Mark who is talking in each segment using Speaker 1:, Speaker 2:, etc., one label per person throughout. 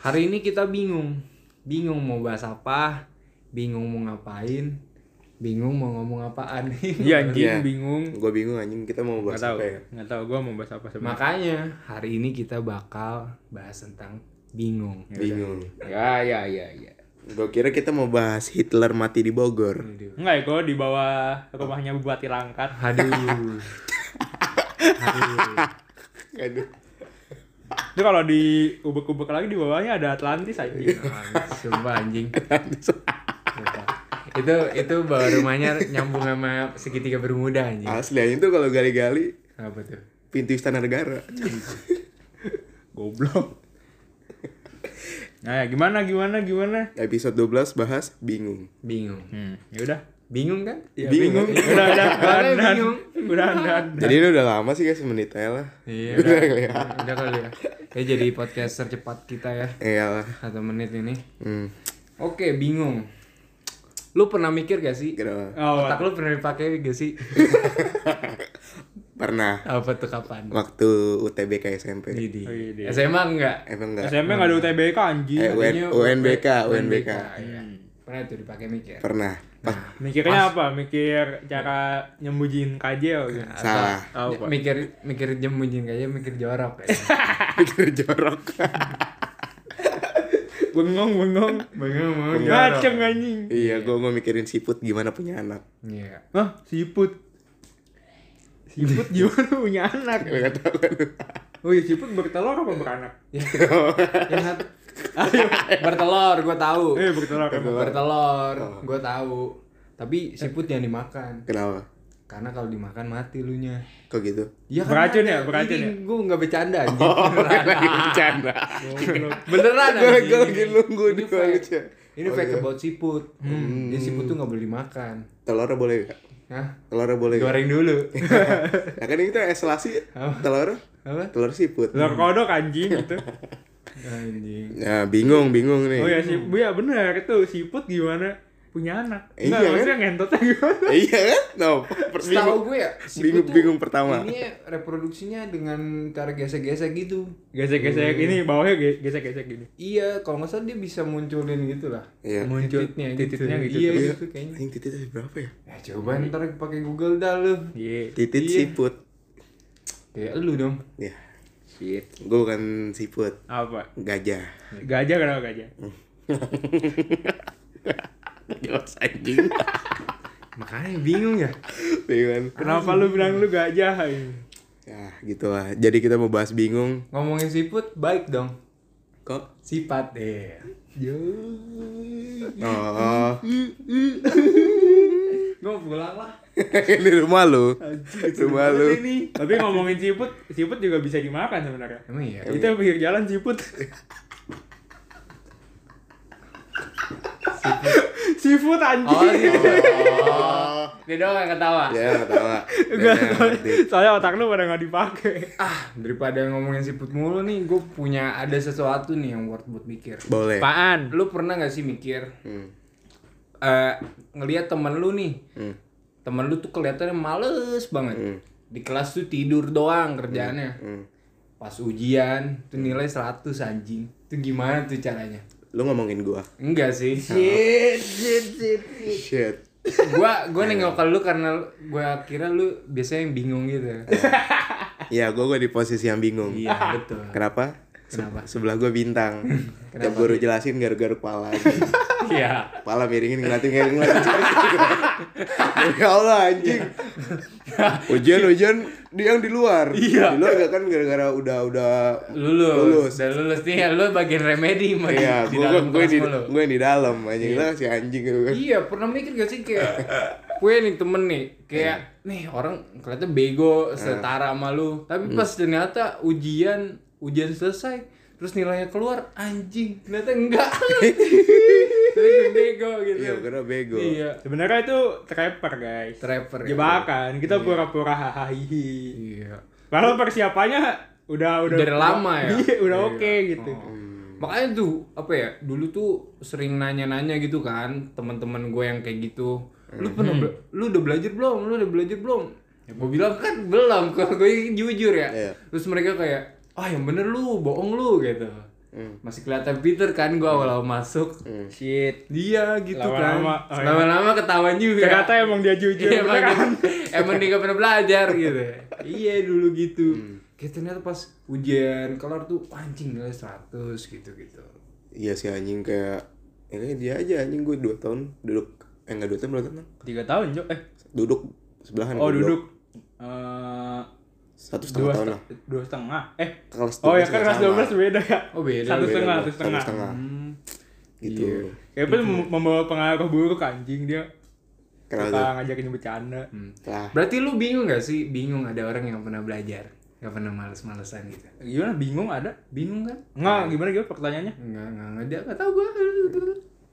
Speaker 1: Hari ini kita bingung. Bingung mau bahas apa, bingung mau ngapain, bingung mau ngomong apaan.
Speaker 2: Iya, anjing,
Speaker 1: Bener-bener bingung.
Speaker 2: Gue bingung anjing kita mau
Speaker 3: nggak
Speaker 2: bahas
Speaker 3: tahu
Speaker 2: apa ya.
Speaker 3: nggak tahu gue mau bahas apa sebenarnya
Speaker 1: Makanya hari ini kita bakal bahas tentang bingung.
Speaker 2: Bingung.
Speaker 3: ya ya ya ya
Speaker 2: Gue kira kita mau bahas Hitler mati di Bogor.
Speaker 3: nggak ya gue di bawah rumahnya bupati Langkat
Speaker 1: Aduh. Aduh.
Speaker 2: Aduh.
Speaker 3: itu kalau di ubek-ubek lagi di bawahnya ada Atlantis aja
Speaker 1: Sumpah anjing. Sumpah. itu itu bawa rumahnya nyambung sama segitiga bermuda anjing.
Speaker 2: Asli anjing tuh kalau gali-gali
Speaker 1: Apa tuh?
Speaker 2: pintu istana negara.
Speaker 3: goblok nah ya, gimana gimana gimana
Speaker 2: Episode 12 bahas bingung.
Speaker 1: Bingung.
Speaker 3: hmm, ya udah
Speaker 1: Bingung kan?
Speaker 2: Iya, bingung.
Speaker 3: udah udah udah
Speaker 1: Makanya
Speaker 3: udah
Speaker 1: bingung.
Speaker 3: udah udah
Speaker 2: Jadi ini udah lama sih guys menitnya lah.
Speaker 1: Iya.
Speaker 2: Udah
Speaker 1: Udah,
Speaker 2: kali ya.
Speaker 1: udah kali ya. Ya jadi podcast tercepat kita ya.
Speaker 2: Iyalah.
Speaker 1: Satu menit ini.
Speaker 2: Eh, Hmm.
Speaker 1: Oke, bingung. Lu pernah mikir gak sih?
Speaker 2: Kira
Speaker 3: Oh,
Speaker 1: Otak lu pernah dipakai gak sih?
Speaker 2: pernah
Speaker 1: Apa tuh kapan?
Speaker 2: waktu UTBK SMP.
Speaker 1: Jadi.
Speaker 3: Oh, iya, iya.
Speaker 1: SMA enggak?
Speaker 2: Emang enggak?
Speaker 3: SMP nggak ada UTBK anjing
Speaker 2: Eh, UN,
Speaker 1: Tadinya
Speaker 2: UNBK, UNBK.
Speaker 1: Iya.
Speaker 3: Hmm.
Speaker 1: Pernah tuh dipakai mikir.
Speaker 2: Pernah. Pas
Speaker 3: Nah. mikirnya apa mikir cara nyembunyiin KJ gitu.
Speaker 2: salah.
Speaker 3: Tahu, Pak.
Speaker 1: mikir mikir jam mungkin kayaknya mikir jorok ya.
Speaker 2: Pikir jorok.
Speaker 3: bengong bengong
Speaker 1: Bagaimana mau
Speaker 3: ngaceng anjing
Speaker 2: iya, gua mau mikirin siput gimana punya anak.
Speaker 1: Iya.
Speaker 3: Hah, siput. Siput gimana punya anak?
Speaker 2: Enggak tahu kan.
Speaker 3: Oh iya, siput bertelur apa beranak?
Speaker 1: Ingat. Ya, bertelur, gue tahu.
Speaker 3: Eh, bertelur. Oh. apa?
Speaker 1: Bertelur, gue tahu. Tapi siput yang dimakan.
Speaker 2: Kenapa?
Speaker 1: Karena kalau dimakan mati lu nya.
Speaker 2: Kok gitu? Oh,
Speaker 1: Ya, Oh.
Speaker 3: Beracun ya, beracun ya?
Speaker 1: Gue nggak bercanda anjing.
Speaker 2: lagi bercanda.
Speaker 3: Goblok.
Speaker 1: Beneran
Speaker 2: Gua-
Speaker 1: anjing.
Speaker 2: gua lagi nunggu
Speaker 1: Ini
Speaker 2: di
Speaker 1: fact.
Speaker 2: koalisnya.
Speaker 1: Ini
Speaker 2: Oh,
Speaker 1: fact
Speaker 2: iya.
Speaker 1: about siput. Hmm. Jadi siput tuh nggak boleh dimakan.
Speaker 2: Telurnya boleh gak?
Speaker 1: Hah?
Speaker 2: Telurnya boleh gak?
Speaker 1: Goreng dulu.
Speaker 2: Nah kan ini tuh eselasi telur
Speaker 1: Apa?
Speaker 2: telur siput.
Speaker 3: Telur kodok anjing gitu.
Speaker 1: Anjing.
Speaker 2: Nah bingung bingung nih.
Speaker 3: Oh iya, siput. Iya bener, itu siput gimana punya anak.
Speaker 2: Iya,
Speaker 3: Enggak,
Speaker 2: kan?
Speaker 3: maksudnya ngentotnya gimana?
Speaker 2: Iya kan? No, per-
Speaker 1: Setahu
Speaker 2: bingung.
Speaker 1: gue ya,
Speaker 2: Bingung- bingung pertama.
Speaker 1: Ini reproduksinya dengan cara gesek-gesek gitu.
Speaker 3: Gesek-gesek
Speaker 2: Iya.
Speaker 3: ini bawahnya ge- gesek-gesek gini.
Speaker 1: Iya, kalau nggak salah dia bisa munculin gitu lah.
Speaker 2: Iya.
Speaker 3: Muncul titiknya gitu.
Speaker 1: Iya,
Speaker 2: Iya.
Speaker 1: gitu kayaknya.
Speaker 2: Anjing titik itu berapa ya?
Speaker 1: Ya, coba ntar pakai Google dah lu.
Speaker 3: Iya.
Speaker 2: Titik
Speaker 1: Iya.
Speaker 2: siput.
Speaker 1: Kayak lu dong.
Speaker 2: Ya,
Speaker 3: Shit.
Speaker 2: gue bukan siput,
Speaker 3: Apa?
Speaker 2: gajah.
Speaker 3: Gajah kenapa gajah?
Speaker 2: Jelas anjing.
Speaker 1: Makanya bingung ya.
Speaker 2: Bingung.
Speaker 3: Kenapa lu bilang lu gajah? anjing?
Speaker 2: Iya kan? Ya, gitu lah. Jadi kita mau bahas bingung.
Speaker 1: Ngomongin siput baik dong.
Speaker 2: Kok?
Speaker 1: Sifat deh.
Speaker 2: Oh,
Speaker 1: Gue pulang lah.
Speaker 2: ini rumah lu. Rumah lu.
Speaker 3: Ini. Tapi ngomongin siput, siput juga bisa dimakan sebenarnya.
Speaker 1: Emang iya.
Speaker 2: Ya
Speaker 3: Kita pinggir jalan siput.
Speaker 1: Oh,
Speaker 3: siput anjing.
Speaker 1: siput. Oh. Dia doang yang ketawa.
Speaker 2: Ya, pertama.
Speaker 1: Iya,
Speaker 3: Enggak, soalnya- soalnya otak lu pada nggak dipakai.
Speaker 1: Ah, daripada ngomongin siput mulu nih, gue punya ada sesuatu nih yang worth buat mikir.
Speaker 2: Boleh.
Speaker 3: Apaan?
Speaker 1: Lu pernah gak sih mikir
Speaker 2: Hmm.
Speaker 1: eh ngelihat temen lu nih
Speaker 2: Hmm.
Speaker 1: temen lu tuh kelihatannya males banget di kelas tuh tidur doang kerjaannya
Speaker 2: Hmm.
Speaker 1: pas ujian tuh nilai 100 anjing tuh gimana tuh caranya
Speaker 2: Lu ngomongin gua.
Speaker 1: enggak sih
Speaker 2: Oh. Shit.
Speaker 1: gua gua
Speaker 2: Iya.
Speaker 1: nengok ke lu karena lu- gua kira lu biasanya yang bingung gitu
Speaker 2: Ya, gua gua di posisi yang bingung.
Speaker 1: iya betul
Speaker 2: Kenapa? Se-
Speaker 1: Kenapa?
Speaker 2: Sebelah gua bintang. Tiap guru jelasin garuk-garuk pala.
Speaker 1: iya
Speaker 2: Pala miringin ngeliatin ngeliatin ngeliatin. ya Allah anjing.
Speaker 1: Iya.
Speaker 2: Ujian ujian dia yang di luar. Iya. Di luar gak kan gara-gara udah udah
Speaker 1: lulus,
Speaker 2: Lulus.
Speaker 1: dan lulus nih ya, lu bagian remedi mah di-
Speaker 2: Iya,
Speaker 1: di
Speaker 2: gua gua
Speaker 1: dalam
Speaker 2: gua
Speaker 1: kelas
Speaker 2: yang di
Speaker 1: mulu.
Speaker 2: gua yang di dalam anjing lah si anjing gitu kan.
Speaker 1: Iya, pernah mikir gak sih kayak gue nih temen nih kayak
Speaker 2: Iya.
Speaker 1: nih orang kelihatan bego setara sama lu,
Speaker 2: Hmm.
Speaker 1: tapi pas ternyata ujian ujian selesai terus nilainya keluar anjing ternyata enggak terus gue bego gitu
Speaker 2: Iya, karena bego.
Speaker 1: iya
Speaker 3: Sebenarnya itu trapper, guys.
Speaker 1: Trapper, ya.
Speaker 3: Jebakan. Kita pura-pura hahaha.
Speaker 1: iya
Speaker 3: Kalau persiapannya udah udah
Speaker 1: Dari lama ya?
Speaker 3: Iya, udah
Speaker 1: Iya.
Speaker 3: oke gitu.
Speaker 1: makanya tuh apa ya dulu tuh sering nanya-nanya gitu kan teman-teman gue yang kayak gitu lu pernah
Speaker 3: Hmm.
Speaker 1: bela- lu udah belajar belum lu udah belajar belum ya, gue bilang kan belum kalau gue jujur ya
Speaker 2: Iya.
Speaker 1: terus mereka kayak ah yang bener lu bohong lu gitu masih kelihatan Peter kan
Speaker 3: Hmm.
Speaker 1: gua awal-awal masuk
Speaker 3: Shit.
Speaker 1: dia gitu
Speaker 3: Lama-lama, oh
Speaker 1: kan
Speaker 3: iya.
Speaker 1: lama-lama ketahuan juga
Speaker 3: Ternyata emang dia jujur.
Speaker 1: Iya, emang,
Speaker 3: bener kan?
Speaker 1: dia- emang dia gak pernah belajar gitu iya dulu gitu kayak ternyata pas ujian kelar tuh anjing nilai 100 gitu gitu
Speaker 2: Iya sih anjing kayak ya kayak dia aja anjing gue 2 tahun duduk eh enggak 2 tahun berapa tahun?
Speaker 3: Tiga tahun, Jo. Eh,
Speaker 2: Duduk sebelahan
Speaker 3: oh
Speaker 2: gua
Speaker 3: duduk. Eh,
Speaker 2: satu setengah
Speaker 3: dua
Speaker 2: tahun
Speaker 3: setengah,
Speaker 2: lah.
Speaker 3: dua setengah. Eh,
Speaker 2: Kelas
Speaker 3: oh ya
Speaker 2: 12
Speaker 3: kan
Speaker 2: nggak
Speaker 3: kelas
Speaker 2: sama.
Speaker 3: 12 beda ya.
Speaker 1: Oh, beda,
Speaker 3: Satu
Speaker 1: beda,
Speaker 3: setengah, satu
Speaker 2: Satu
Speaker 3: setengah. iya.
Speaker 2: setengah.
Speaker 1: hmm.
Speaker 2: Gitu.
Speaker 3: Kayaknya pun mem- membawa pengaruh buruk anjing dia.
Speaker 2: Kenapa tuh?
Speaker 3: Suka ngajakin bercanda.
Speaker 1: Hmm.
Speaker 2: Lah,
Speaker 1: berarti lu bingung gak sih bingung ada orang yang pernah belajar gak pernah males-malesan gitu
Speaker 3: Gimana bingung ada?
Speaker 1: bingung kan
Speaker 3: Enggak, gimana gimana pertanyaannya?
Speaker 1: nggak nggak nggak dia nggak tahu gue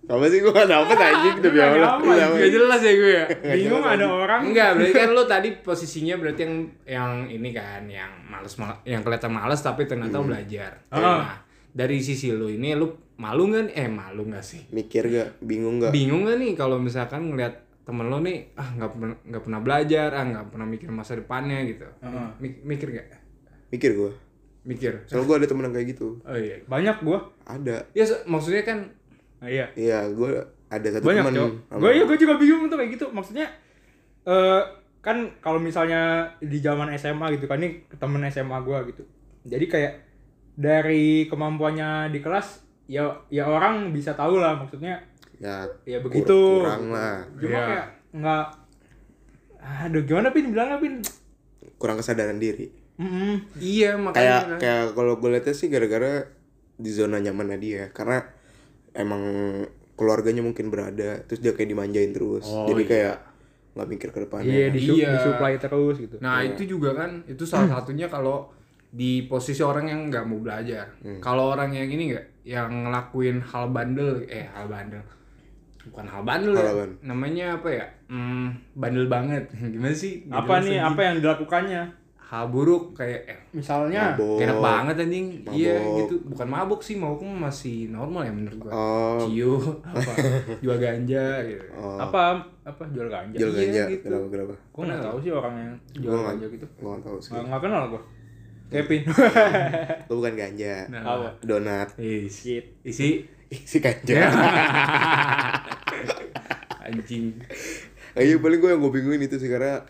Speaker 2: apa sih gue gak dapet anjing demi
Speaker 3: nggak
Speaker 2: Allah.
Speaker 3: nyaman,
Speaker 2: Kenapa?
Speaker 1: nggak jelas ya gue ya
Speaker 3: Bingung ada orang
Speaker 1: Enggak, berarti kan lo tadi posisinya berarti yang yang ini kan yang males mal- yang kelihatan males tapi ternyata belajar.
Speaker 3: Ah.
Speaker 1: Nah, dari sisi lo ini lo malu nggak nih? Eh, malu nggak sih?
Speaker 2: Mikir gak? Bingung gak?
Speaker 1: Bingung nggak nih kalau misalkan ngelihat temen lo nih ah nggak pernah nggak pernah belajar ah nggak pernah mikir masa depannya gitu
Speaker 3: Heeh.
Speaker 1: Mi- mikir gak
Speaker 2: Mikir gue.
Speaker 1: mikir
Speaker 2: Soalnya gue ada temen yang kayak gitu.
Speaker 1: oh iya
Speaker 3: banyak gua.
Speaker 2: Ada.
Speaker 1: ya so- maksudnya kan
Speaker 3: Nah, iya.
Speaker 2: Iya, gue ada satu
Speaker 3: banyak
Speaker 2: temen.
Speaker 3: cok
Speaker 2: sama-
Speaker 3: gue ya gue juga bingung tuh kayak gitu maksudnya eh kan kalau misalnya di zaman SMA gitu kan ini temen SMA gue gitu jadi kayak dari kemampuannya di kelas ya ya orang bisa tahu lah maksudnya
Speaker 2: Ya,
Speaker 3: ya
Speaker 2: kur-
Speaker 3: begitu
Speaker 2: Kurang lah.
Speaker 3: cuma
Speaker 1: Iya.
Speaker 3: kayak nggak aduh gimana pin bilangnya pin
Speaker 2: Kurang kesadaran diri.
Speaker 3: Mm-mm.
Speaker 1: iya makanya
Speaker 2: kayak kayak kalau gue liatnya sih gara-gara di zona nyamannya dia karena emang keluarganya mungkin berada terus dia kayak dimanjain terus jadi kayak nggak mikir ke depannya
Speaker 3: iya
Speaker 1: Oh,
Speaker 3: disu-
Speaker 1: Iya.
Speaker 3: disuplai terus gitu
Speaker 2: iya.
Speaker 1: Nah itu juga kan itu salah satunya kalau di posisi orang yang nggak mau belajar.
Speaker 2: Hmm.
Speaker 1: Kalau orang yang ini nggak yang ngelakuin hal bandel, eh hal bandel bukan hal bandel
Speaker 2: Hal
Speaker 1: ya.
Speaker 2: bandel.
Speaker 1: namanya apa ya? Hmm, bandel banget. Gimana sih? Nggak
Speaker 3: apa
Speaker 1: jelas
Speaker 3: nih
Speaker 1: lagi.
Speaker 3: apa yang dilakukannya
Speaker 1: Hal buruk kayak eh,
Speaker 3: misalnya
Speaker 2: Mabok.
Speaker 1: enak banget anjing. Iya
Speaker 2: Mabok.
Speaker 1: gitu. Bukan mabuk sih, mabuk masih normal ya menurut gua.
Speaker 2: oh
Speaker 1: Cio, apa jual ganja gitu.
Speaker 2: oh
Speaker 3: apa apa jual ganja
Speaker 2: jual
Speaker 1: Iya,
Speaker 2: ganja
Speaker 1: gitu.
Speaker 2: kenapa kenapa
Speaker 3: gue nggak tahu sih orang yang jual
Speaker 2: Gua nggak-
Speaker 3: ganja gitu
Speaker 2: gue nggak tahu sih
Speaker 3: Nggak nggak kenal gue. Kevin.
Speaker 2: gue bukan ganja
Speaker 3: Apa?
Speaker 2: donat
Speaker 1: Isi,
Speaker 3: Shit.
Speaker 1: isi
Speaker 2: isi
Speaker 1: Ya.
Speaker 2: ganja
Speaker 1: anjing.
Speaker 2: Eh, iya paling gue yang gue bingungin itu sih karena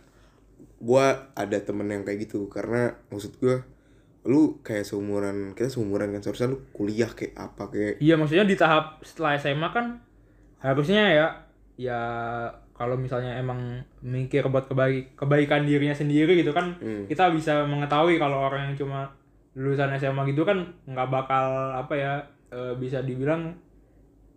Speaker 2: gue ada temen yang kayak gitu karena maksud gue lu kayak seumuran kita seumuran kan seharusnya lu kuliah kayak apa kayak
Speaker 3: Iya maksudnya di tahap setelah SMA kan harusnya ya ya kalau misalnya emang mikir buat kebaik kebaikan dirinya sendiri gitu kan
Speaker 1: Hmm.
Speaker 3: kita bisa mengetahui kalau orang yang cuma lulusan SMA gitu kan nggak bakal apa ya eh, bisa dibilang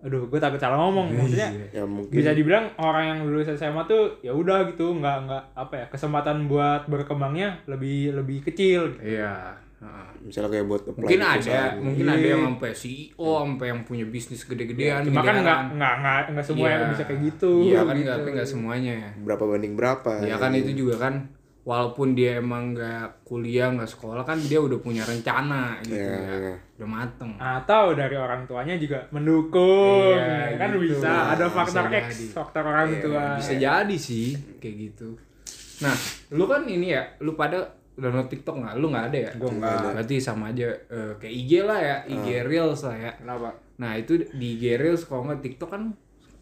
Speaker 3: aduh gue takut salah ngomong
Speaker 1: Iya.
Speaker 3: maksudnya
Speaker 2: ya mungkin
Speaker 3: bisa dibilang orang yang lulus SMA tuh ya udah gitu nggak nggak apa ya kesempatan buat berkembangnya lebih lebih kecil gitu.
Speaker 1: Iya. heeh.
Speaker 2: misalnya kayak buat apply
Speaker 1: mungkin
Speaker 2: di
Speaker 1: ada
Speaker 2: perusahaan.
Speaker 1: mungkin
Speaker 3: Iya.
Speaker 1: ada yang sampai CEO sampai yang punya bisnis gede-gedean
Speaker 3: Cuma kan
Speaker 1: gedean.
Speaker 3: nggak nggak nggak nggak semua
Speaker 1: Iya.
Speaker 3: yang bisa kayak gitu.
Speaker 1: iya kan
Speaker 3: Gitu.
Speaker 1: nggak tapi nggak semuanya ya
Speaker 2: berapa banding berapa gitu.
Speaker 1: Iya kan itu juga kan walaupun dia emang nggak kuliah nggak sekolah kan dia udah punya rencana gitu
Speaker 2: Iya,
Speaker 1: ya
Speaker 2: iya.
Speaker 1: udah mateng
Speaker 3: Atau dari orang tuanya juga mendukung,
Speaker 1: Iya,
Speaker 3: kan
Speaker 1: gitu.
Speaker 3: bisa ada
Speaker 1: Bisa
Speaker 3: faktor X,
Speaker 1: jadi. Iya,
Speaker 3: faktor orang tua.
Speaker 1: bisa jadi sih kayak gitu nah lu kan ini ya lu pada download TikTok nggak lu nggak ada ya
Speaker 3: Gua nggak ada.
Speaker 1: berarti sama aja eh, kayak IG lah ya IG reels lah ya
Speaker 3: Kenapa?
Speaker 1: Nah itu di IG Reels kalau nggak TikTok kan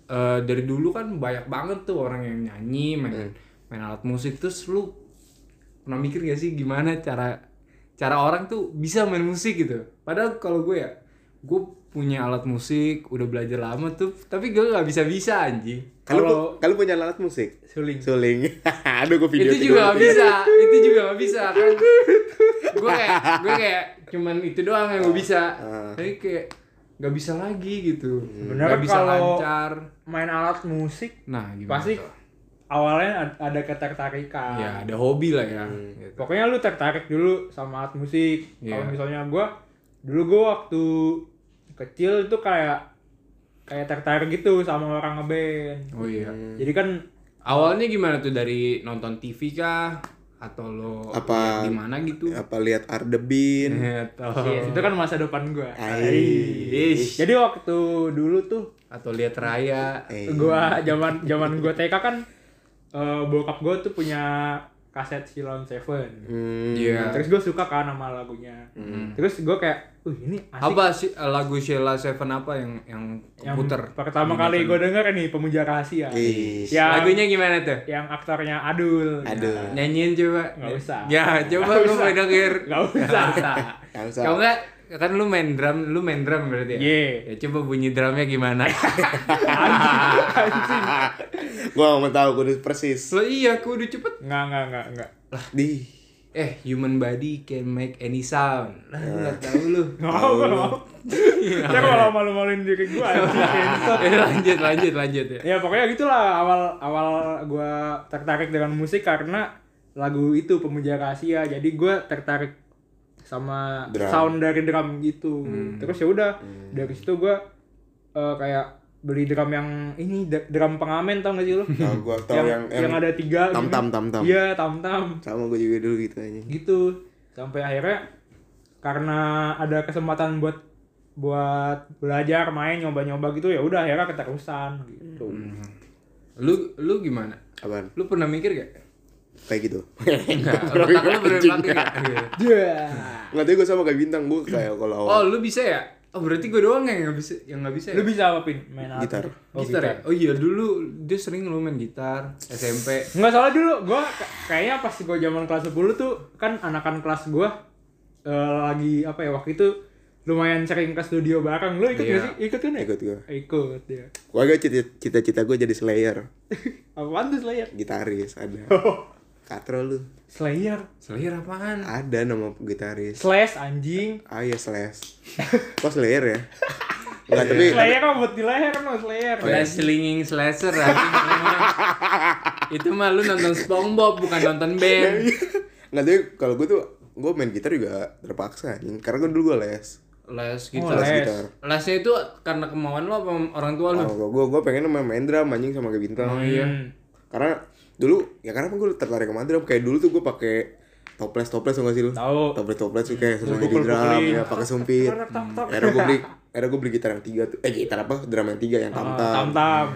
Speaker 1: eh, dari dulu kan banyak banget tuh orang yang nyanyi main main alat musik terus lu pernah mikir gak sih gimana cara cara orang tuh bisa main musik gitu padahal kalau gue ya gue punya alat musik udah belajar lama tuh tapi gue nggak bisa bisa anjing
Speaker 3: Kalau-
Speaker 2: kalau kalau Kan punya alat musik
Speaker 3: Suling.
Speaker 2: suling aduh gue video
Speaker 1: itu juga gak bisa itu juga gak bisa kan gue kayak gue kayak cuman itu doang yang gue bisa
Speaker 2: Ah.
Speaker 1: tapi kayak nggak bisa lagi gitu
Speaker 3: Sebenarnya
Speaker 1: nggak bisa
Speaker 3: kalau-
Speaker 1: lancar
Speaker 3: Main alat musik
Speaker 1: Nah, gimana?
Speaker 3: pasti
Speaker 1: tuh?
Speaker 3: awalnya ad- ada ketertarikan.
Speaker 1: ya ada hobi lah ya.
Speaker 2: Hmm.
Speaker 1: Gitu.
Speaker 3: Pokoknya lu tertarik dulu sama alat musik.
Speaker 1: Iya.
Speaker 3: Kalau misalnya gua dulu gua waktu kecil itu kayak kayak tertarik gitu sama orang ngeband.
Speaker 1: Oh iya.
Speaker 3: Jadi kan
Speaker 1: Awalnya gimana tuh dari nonton TV kah atau lo
Speaker 2: Apa- Iya,
Speaker 1: di mana gitu? Iya,
Speaker 2: apa lihat Ardebin
Speaker 1: Atau
Speaker 3: itu kan masa depan gua.
Speaker 1: Ish.
Speaker 3: Jadi waktu dulu tuh
Speaker 1: atau lihat raya.
Speaker 2: eh
Speaker 3: gua zaman zaman gua TK kan eh, bokap gua tuh punya kaset Silon Seven.
Speaker 2: Hmm.
Speaker 1: Iya.
Speaker 3: Terus gue suka kan sama lagunya. Terus gue kayak, uh ini asik.
Speaker 1: Apa sih eh, lagu Sheila Seven apa yang yang
Speaker 3: Yang
Speaker 1: komputer?
Speaker 3: pertama kali gue denger nih pemuja rahasia.
Speaker 2: Ih.
Speaker 3: Yang,
Speaker 1: Lagunya gimana tuh?
Speaker 3: yang aktornya Adul.
Speaker 2: Aduh.
Speaker 1: Nyanyiin coba.
Speaker 3: Nggak usah.
Speaker 1: Ya, coba
Speaker 3: Nggak
Speaker 1: lu
Speaker 3: usah.
Speaker 1: main denger.
Speaker 3: Nggak usah. Iya.
Speaker 2: Nggak usah.
Speaker 1: Kalau enggak kan lu main drum, lu main drum berarti ya?
Speaker 3: Ye.
Speaker 1: Ya coba bunyi drumnya gimana?
Speaker 2: gua nggak mau tahu gua udah persis.
Speaker 1: Lo iya, kudu cepet.
Speaker 3: Nggak, nggak, nggak, nggak.
Speaker 2: Di.
Speaker 1: Eh, human body can make any sound. Lah, lu nggak tahu lu.
Speaker 3: Nggak mau, nggak mau. Ntar malah malu-maluin diri gue.
Speaker 1: Eh, lanjut, lanjut, lanjut ya.
Speaker 3: ya pokoknya gitulah awal awal gue tertarik dengan musik karena lagu itu pemuja rahasia jadi gue tertarik sama
Speaker 2: Drum.
Speaker 3: sound dari drum gitu terus ya udah dari situ gue eh, kayak beli drum yang ini d- drum pengamen tau gak sih lu
Speaker 2: Nah, gua tahu yang,
Speaker 3: yang, yang ada tiga gitu.
Speaker 2: tam-tam, tam-tam.
Speaker 3: iya tam tam
Speaker 2: sama gua juga dulu gitu aja.
Speaker 3: gitu sampai akhirnya karena ada kesempatan buat buat belajar main nyoba nyoba gitu ya udah akhirnya keterusan gitu
Speaker 1: Lu lu gimana?
Speaker 2: Apaan?
Speaker 1: Lu pernah mikir gak?
Speaker 2: Kayak gitu.
Speaker 1: Enggak, otak lu pernah dipakai nggak? Iya.
Speaker 3: Yeah.
Speaker 2: Enggak tahu gua sama kayak bintang gua kayak kalau
Speaker 1: Oh,
Speaker 2: awal
Speaker 1: lu bisa ya? Oh, berarti gue doang yang nggak bisa yang nggak bisa. Ya?
Speaker 3: Lu bisa apa pin? Main alat
Speaker 2: Gitar.
Speaker 3: gitu? Oh,
Speaker 1: gitar, ya? Oh iya, dulu dia sering lu main gitar SMP.
Speaker 3: Enggak salah dulu, gua k- kayaknya pas gua zaman kelas 10 tuh kan anakan kelas gua eh, lagi apa ya waktu itu lumayan sering ke studio bareng. Lu ikut
Speaker 1: Iya.
Speaker 3: gak sih? Ikut kan ya?
Speaker 2: ikut gua.
Speaker 3: Ikut ya.
Speaker 2: Gua agak cita- cita-cita gua jadi Slayer,
Speaker 3: Apaan tuh Slayer?
Speaker 2: gitaris ada. Katro lu.
Speaker 3: Slayer.
Speaker 1: Selir apaan?
Speaker 2: Ada nama gitaris.
Speaker 3: Slash anjing.
Speaker 2: Ah iya Slash. Kok Slayer ya? Enggak tapi
Speaker 3: Slayer mah buat di leher mah Slayer.
Speaker 2: Oh,
Speaker 1: Udah
Speaker 2: iya.
Speaker 1: slinging slasher anjing, emang. Itu mah lu nonton SpongeBob bukan nonton band.
Speaker 2: Nggak tapi kalau gue tuh gue main gitar juga terpaksa anjing karena kan dulu gue les
Speaker 1: Les
Speaker 3: Oh,
Speaker 1: gitar.
Speaker 2: les
Speaker 3: les.
Speaker 2: gitar
Speaker 1: Lesnya itu karena kemauan lu apa orang tua lu?
Speaker 2: oh, gue gue pengen main, main drum anjing sama kayak bintang
Speaker 3: Hmm.
Speaker 2: karena dulu ya karena gue tertarik sama drum kayak dulu tuh gue pakai toples toples tau gak sih lu
Speaker 3: Tahu.
Speaker 2: toples toples tuh kayak sesuai di
Speaker 3: Pukul-pukulin.
Speaker 2: drum ya pakai sumpit
Speaker 3: Tok, tok, tok.
Speaker 2: akhirnya gue beli akhirnya gue beli gitar yang tiga tuh eh gitar apa drum yang tiga yang tam
Speaker 3: Tam
Speaker 2: tam
Speaker 3: tam.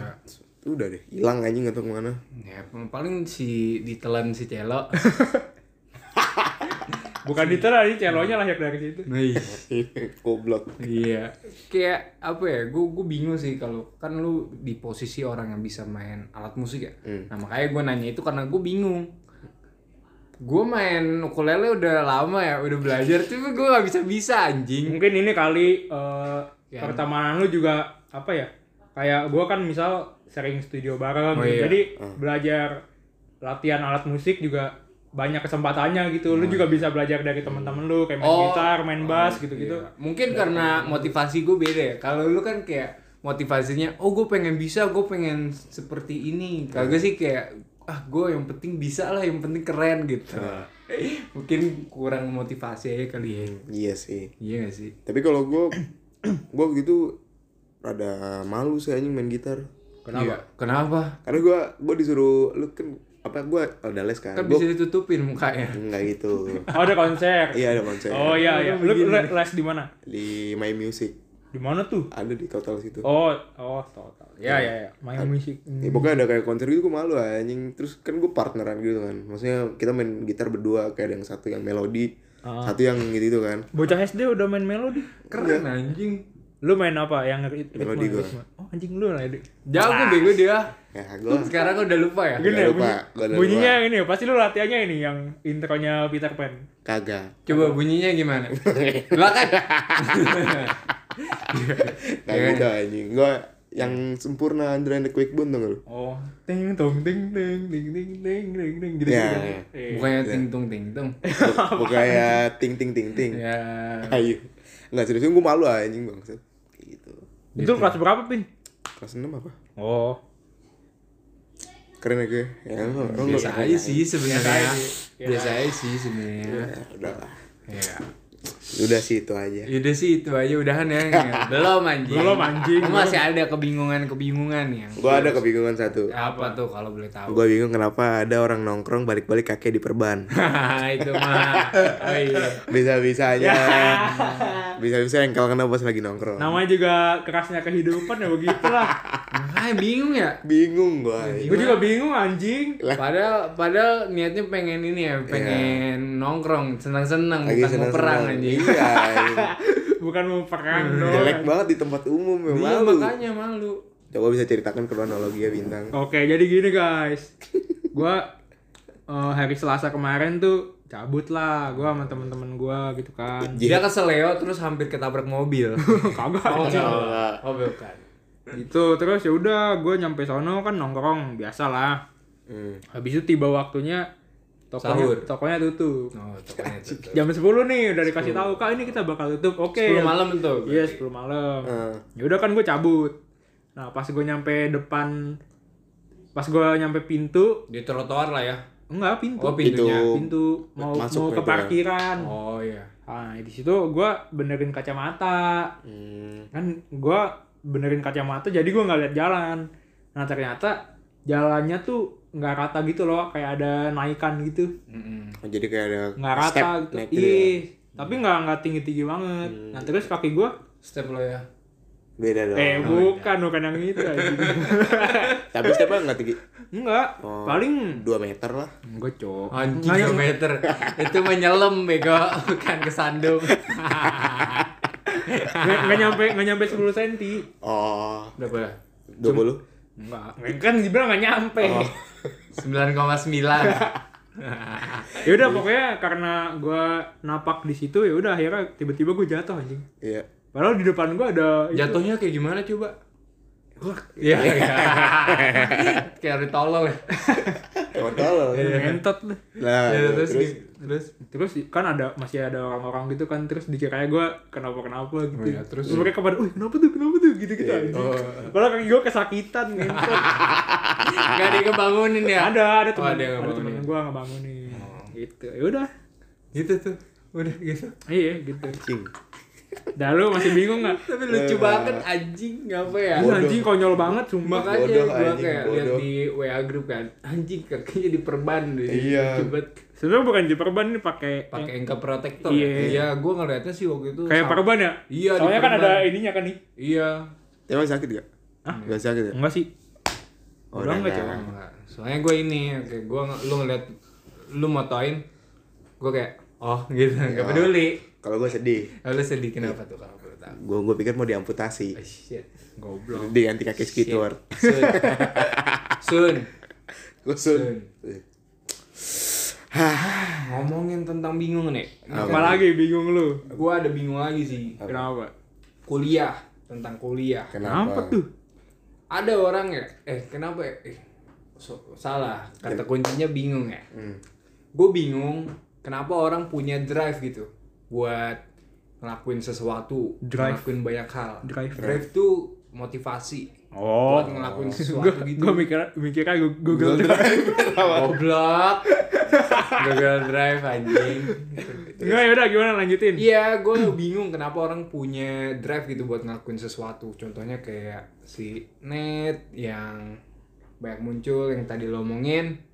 Speaker 2: udah deh hilang anjing atau kemana
Speaker 1: Ya, paling si ditelan si Celo.
Speaker 3: Bukan ditelan, ini celonya lahir dari situ.
Speaker 1: Nah, iya.
Speaker 2: goblok
Speaker 1: Iya. Kayak apa ya? Gue gue bingung sih kalau kan lu di posisi orang yang bisa main alat musik ya. Nah makanya gue nanya itu karena gue bingung. Gue main ukulele udah lama ya, udah belajar, tapi gue gak bisa bisa anjing.
Speaker 3: mungkin ini kali eh,
Speaker 1: Iya.
Speaker 3: pertemanan lu juga apa ya kayak gua kan misal sering studio bareng
Speaker 1: Oh,
Speaker 3: gitu.
Speaker 1: iya.
Speaker 3: jadi
Speaker 2: Hmm.
Speaker 3: belajar latihan alat musik juga banyak kesempatannya gitu lu juga bisa belajar dari teman-teman lu kayak main
Speaker 1: Hmm. Oh.
Speaker 3: gitar main bass gitu-gitu
Speaker 1: Iya. Mungkin karena motivasi gue beda ya. Kalau lu kan kayak motivasinya, oh gue pengen bisa, gue pengen seperti ini. Kalau gue sih kayak ah gue yang penting bisa lah, yang penting keren gitu.
Speaker 3: Iya.
Speaker 1: Mungkin kurang motivasi aja kali ya.
Speaker 2: iya sih
Speaker 1: Iya gak sih?
Speaker 2: tapi kalau gue gue gitu rada malu sih anjing main gitar
Speaker 1: Kenapa? Iya. Kenapa?
Speaker 2: karena gue gue disuruh lu kan apa gue udah les kan
Speaker 1: Kan
Speaker 2: gue
Speaker 1: bisa ditutupin mukanya.
Speaker 2: nggak gitu
Speaker 3: oh ada konser
Speaker 2: iya ada konser
Speaker 3: oh iya iya lu le- les di mana
Speaker 2: di My Music
Speaker 3: di mana tuh
Speaker 2: ada di total situ
Speaker 3: oh oh total
Speaker 2: Iya.
Speaker 3: ya ya ya main musik
Speaker 2: Ya, pokoknya ada kayak konser gitu gue malu anjing terus kan gue partneran gitu kan maksudnya kita main gitar berdua kayak ada yang satu yang melodi
Speaker 3: Ah.
Speaker 2: satu yang gitu, kan
Speaker 3: bocah SD udah main melodi
Speaker 1: Keren
Speaker 3: Iya.
Speaker 1: anjing.
Speaker 3: lu main apa yang rit- ritme
Speaker 2: Melodi gua.
Speaker 3: ritme. oh anjing lu lah Dik.
Speaker 1: Jago bego dia.
Speaker 2: ya gue
Speaker 1: Sekarang udah lupa ya.
Speaker 3: Gini
Speaker 2: Gak
Speaker 3: ya,
Speaker 2: lupa, gua
Speaker 3: bunyi,
Speaker 2: udah
Speaker 3: bunyinya yang ini ya, pasti lu latihannya ini yang intronya Peter Pan.
Speaker 2: kagak
Speaker 1: Coba bunyinya gimana? Lah kan.
Speaker 3: Ya
Speaker 2: kayak
Speaker 3: kan?
Speaker 2: gitu anjing gue yang sempurna Andre and the Quick Bone tau gak lu
Speaker 3: Oh, ting tong ting ting ting ting ting ting ting gitu.
Speaker 2: Ya,
Speaker 3: gitu.
Speaker 2: ya.
Speaker 3: Eh,
Speaker 1: Bukannya ting tung ting tung.
Speaker 2: Buk- bukannya ya, ting ting ting ting
Speaker 1: Ya.
Speaker 2: ayo nggak serius gue malu anjing bangset kayak gitu
Speaker 3: Itu kelas berapa, Pin?
Speaker 2: kelas enam apa
Speaker 3: Oh.
Speaker 2: keren ya gue ya lu- lu
Speaker 1: Iya,
Speaker 2: nggak-
Speaker 1: Biasa aja sih sebenarnya. Biasa aja sih sebenarnya.
Speaker 2: Ya, udah lah
Speaker 1: Ya.
Speaker 2: Udah sih itu aja.
Speaker 1: Yaudah sih itu aja udahan ya. Belum anjing.
Speaker 3: Belum, anjing.
Speaker 1: Masih ada kebingungan-kebingungan yang
Speaker 2: Gua ada kebingungan satu.
Speaker 1: apa tuh kalau boleh tahu.
Speaker 2: Gua bingung kenapa ada orang nongkrong balik-balik kakek di perban.
Speaker 1: itu mah. Oh iya.
Speaker 2: Bisa-bisanya. Bisa-bisa engkel kena pas lagi nongkrong.
Speaker 1: Nah,
Speaker 3: Namanya juga kerasnya kehidupan ya begitulah.
Speaker 1: Makanya bingung ya.
Speaker 2: Bingung gua.
Speaker 3: Gue juga bingung anjing.
Speaker 1: Padahal padahal niatnya pengen ini ya, pengen nongkrong, senang-senang,
Speaker 2: Lagi
Speaker 1: bukan mau
Speaker 2: senang
Speaker 1: perang anjing.
Speaker 2: Iya.
Speaker 3: Bukan mau perang
Speaker 2: Hmm, Jelek
Speaker 3: doang.
Speaker 2: banget di tempat umum ya
Speaker 1: Iya,
Speaker 2: malu.
Speaker 1: makanya malu.
Speaker 2: Coba bisa ceritakan kronologi ya bintang.
Speaker 3: Oke, jadi gini guys. Gua eh, hari Selasa kemarin tuh cabut lah gua sama temen-temen gua gitu kan.
Speaker 1: Dia keseleo terus hampir ketabrak mobil.
Speaker 3: Kagak.
Speaker 1: Oh
Speaker 3: anjing.
Speaker 1: enggak. Oh bukan.
Speaker 3: Gitu terus ya udah gua nyampe sono kan nongkrong biasalah.
Speaker 2: Hmm.
Speaker 3: Habis itu tiba waktunya tokonya
Speaker 1: Sahur.
Speaker 3: tokonya tutup.
Speaker 1: Oh, tokonya itu.
Speaker 3: Jam 10 nih udah dikasih tahu Kak ini kita bakal tutup. Oke.
Speaker 1: 10 malam tuh.
Speaker 3: Iya, 10 malam.
Speaker 1: Iya.
Speaker 2: Eh,
Speaker 3: Ya udah kan gue cabut. Nah, pas gue nyampe depan pas gue nyampe pintu,
Speaker 1: Di trotoar lah ya.
Speaker 3: enggak pintu.
Speaker 1: Oh, pintunya.
Speaker 2: Pintu.
Speaker 3: pintu mau mau
Speaker 2: Masuk
Speaker 3: ke
Speaker 2: ke itu ya.
Speaker 3: parkiran.
Speaker 1: Oh iya.
Speaker 3: Nah, di situ gua benerin kacamata.
Speaker 2: hmm.
Speaker 3: Kan gua benerin kacamata jadi gua nggak lihat jalan. Nah, ternyata jalannya tuh nggak rata gitu loh, kayak ada naikan gitu.
Speaker 1: Mm-mm.
Speaker 2: Jadi kayak ada
Speaker 3: Nggak rata gitu.
Speaker 2: naik gitu
Speaker 3: Iya.
Speaker 2: ya. Hmm.
Speaker 3: Tapi nggak nggak tinggi-tinggi banget. Nah, terus kaki gua
Speaker 1: Step lo ya.
Speaker 2: Beda dong.
Speaker 3: eh bukan bukan yang itu. anjing.
Speaker 2: Tapi stepnya nggak tinggi
Speaker 3: Enggak,
Speaker 2: Oh.
Speaker 3: paling
Speaker 2: 2 meter lah.
Speaker 3: Enggak, Cok.
Speaker 1: Anjing nggak meter. Itu menyelem bego, bukan kesandung.
Speaker 3: Enggak enggak nyampe enggak nyampe 10 cm.
Speaker 2: Oh,
Speaker 1: Berapa?
Speaker 2: 20.
Speaker 3: Enggak. Kan dibilang enggak nyampe.
Speaker 2: Oh.
Speaker 1: 9,9.
Speaker 3: Ya udah pokoknya karena gua napak di situ ya udah akhirnya tiba-tiba gua jatuh anjing.
Speaker 2: Iya.
Speaker 3: Padahal di depan gua ada itu.
Speaker 1: Jatuhnya kayak gimana coba? Iya. kayak ada tolol ya.
Speaker 2: Emang tolol.
Speaker 3: Ngentot lah.
Speaker 2: Nah,
Speaker 3: Iya,
Speaker 1: Ya,
Speaker 2: terus,
Speaker 1: terus
Speaker 3: gitu.
Speaker 1: di- terus
Speaker 3: Terus kan ada masih ada orang-orang gitu kan terus dikiranya gua kenapa-kenapa gitu.
Speaker 1: Oh iya, terus? Iya,
Speaker 3: mereka pada, "Wih, kenapa tuh? Kenapa tuh?" gitu-gitu anjing. Padahal kaki gua kesakitan ngentot.
Speaker 1: enggak ada yang kebangunin ya.
Speaker 3: ada, ada
Speaker 1: Oh,
Speaker 3: teman
Speaker 1: ada yang
Speaker 3: ada teman
Speaker 1: ngebangunin. Oh.
Speaker 3: gua ngebangunin. Gitu. Ya udah.
Speaker 1: Gitu tuh. Udah gitu.
Speaker 3: Iya, gitu.
Speaker 2: Cing.
Speaker 3: Dah lu masih bingung nggak?
Speaker 1: Tapi lucu banget anjing ngapa ya?
Speaker 3: Ih, Anjing konyol banget sumpah.
Speaker 1: Makanya
Speaker 2: Bodoh,
Speaker 1: gua
Speaker 2: anjing,
Speaker 1: kayak lihat
Speaker 2: bodoh.
Speaker 1: di WA grup kan, anjing kakinya diperban deh.
Speaker 2: Iya.
Speaker 1: Cepet
Speaker 3: Sebenarnya bukan di perban nih pakai
Speaker 1: pakai engkel protektor.
Speaker 3: Iya.
Speaker 1: Iya, gua ngeliatnya sih waktu itu
Speaker 3: kayak
Speaker 1: sama-
Speaker 3: perban ya?
Speaker 1: Iya, di
Speaker 3: Soalnya kan
Speaker 1: perban.
Speaker 3: ada ininya kan nih.
Speaker 1: Iya.
Speaker 2: Emang sakit gak?
Speaker 3: Hah?
Speaker 2: Gak sakit ya?
Speaker 3: Enggak sih.
Speaker 2: Oh,
Speaker 3: Udah enggak,
Speaker 2: udah
Speaker 3: Cok.
Speaker 1: Enggak. Soalnya gue ini, kayak gue lu ngeliat lu motoin, gue kayak oh gitu,
Speaker 2: Iya.
Speaker 1: nggak peduli.
Speaker 2: Kalau gue sedih.
Speaker 1: Lalu sedih kenapa tuh kalau perlu tahu?
Speaker 2: Gue gue pikir mau diamputasi.
Speaker 1: Oh, shit, goblok.
Speaker 2: Diganti kaki skateboard.
Speaker 1: Sun, Sun,
Speaker 2: Gue
Speaker 1: Sun.
Speaker 2: Eh,
Speaker 1: ngomongin tentang bingung nih.
Speaker 3: Apa lagi bingung lu?
Speaker 1: Gue ada bingung lagi sih.
Speaker 3: Kenapa?
Speaker 1: Kuliah tentang kuliah.
Speaker 3: Kenapa tuh?
Speaker 1: Ada orang ya, eh kenapa ya? Eh, so- salah. Kata kuncinya bingung ya.
Speaker 2: Hmm.
Speaker 1: gue bingung kenapa orang punya drive gitu buat ngelakuin sesuatu,
Speaker 3: Drive.
Speaker 1: ngelakuin banyak hal.
Speaker 3: Drive.
Speaker 1: tuh motivasi
Speaker 3: Oh.
Speaker 1: buat ngelakuin
Speaker 3: Gua
Speaker 1: sesuatu gitu.
Speaker 3: gua mikir mikirnya Gu- Google Drive.
Speaker 1: Goblok. Gagal drive anjing.
Speaker 3: Enggak ya udah gimana lanjutin?
Speaker 1: Iya, gue bingung kenapa orang punya drive gitu buat ngelakuin sesuatu. Contohnya kayak si Net yang banyak muncul yang tadi lo omongin.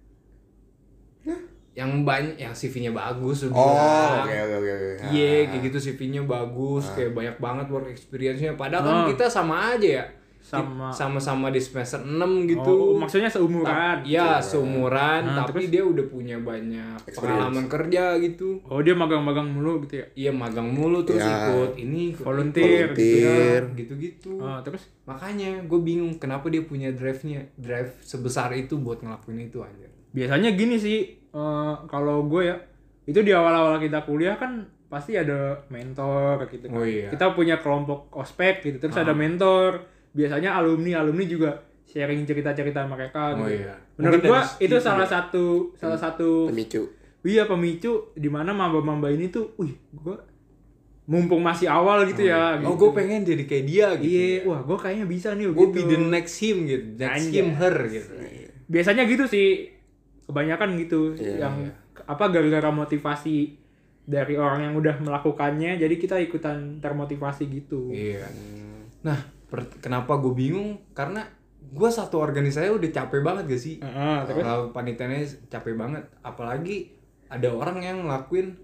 Speaker 1: Yang banyak yang CV-nya bagus lu
Speaker 2: Oh,
Speaker 1: bilang.
Speaker 2: oke Ah. oke oke. oke.
Speaker 1: Iya, kayak gitu CV-nya bagus, kayak banyak banget work experience-nya. Padahal kan
Speaker 3: Ah.
Speaker 1: kita sama aja ya.
Speaker 3: Sama.
Speaker 1: Sama-sama di semester 6 gitu.
Speaker 3: Oh, maksudnya kan? seumuran.
Speaker 1: Iya, seumuran,
Speaker 3: Nah,
Speaker 1: tapi dia udah punya banyak pengalaman kerja gitu.
Speaker 3: Oh, dia magang-magang mulu gitu ya.
Speaker 1: Iya, magang mulu terus
Speaker 2: Ya.
Speaker 1: ikut ini ikut itu, ya,
Speaker 3: Volunteer.
Speaker 2: Volunteer.
Speaker 1: gitu-gitu.
Speaker 3: Ah, terus
Speaker 1: Makanya gue bingung kenapa dia punya drive-nya, drive sebesar itu buat ngelakuin itu aja.
Speaker 3: biasanya gini sih eh, kalau gue ya itu di awal-awal kita kuliah kan pasti ada mentor gitu kan.
Speaker 1: Oh iya. Ah.
Speaker 3: kita punya kelompok ospek gitu terus ada mentor biasanya alumni alumni juga sharing cerita-cerita mereka
Speaker 1: Oh
Speaker 3: gitu.
Speaker 1: iya.
Speaker 3: menurut
Speaker 1: Mungkin dari
Speaker 3: gue
Speaker 1: Hmm.
Speaker 3: itu
Speaker 1: situ
Speaker 3: salah satu salah satu
Speaker 2: Pemicu.
Speaker 3: iya pemicu dimana mamba-mamba ini tuh wih gue mumpung masih awal gitu ya
Speaker 1: Oh,
Speaker 3: gitu.
Speaker 1: gue pengen jadi kayak dia gitu.
Speaker 3: iya wah gue kayaknya bisa nih
Speaker 1: Gue
Speaker 3: gitu.
Speaker 1: be the next him gitu, next
Speaker 3: Anjay.
Speaker 1: him her gitu.
Speaker 3: biasanya gitu sih kebanyakan gitu
Speaker 2: Iya,
Speaker 3: yang apa gara-gara motivasi dari orang yang udah melakukannya jadi kita ikutan termotivasi gitu
Speaker 1: Iya. Nah, per- kenapa gue bingung? Karena gue satu organisasi aja udah capek banget gak sih?
Speaker 3: Heeh, terus
Speaker 1: Kalau panitianya capek banget, apalagi ada orang yang ngelakuin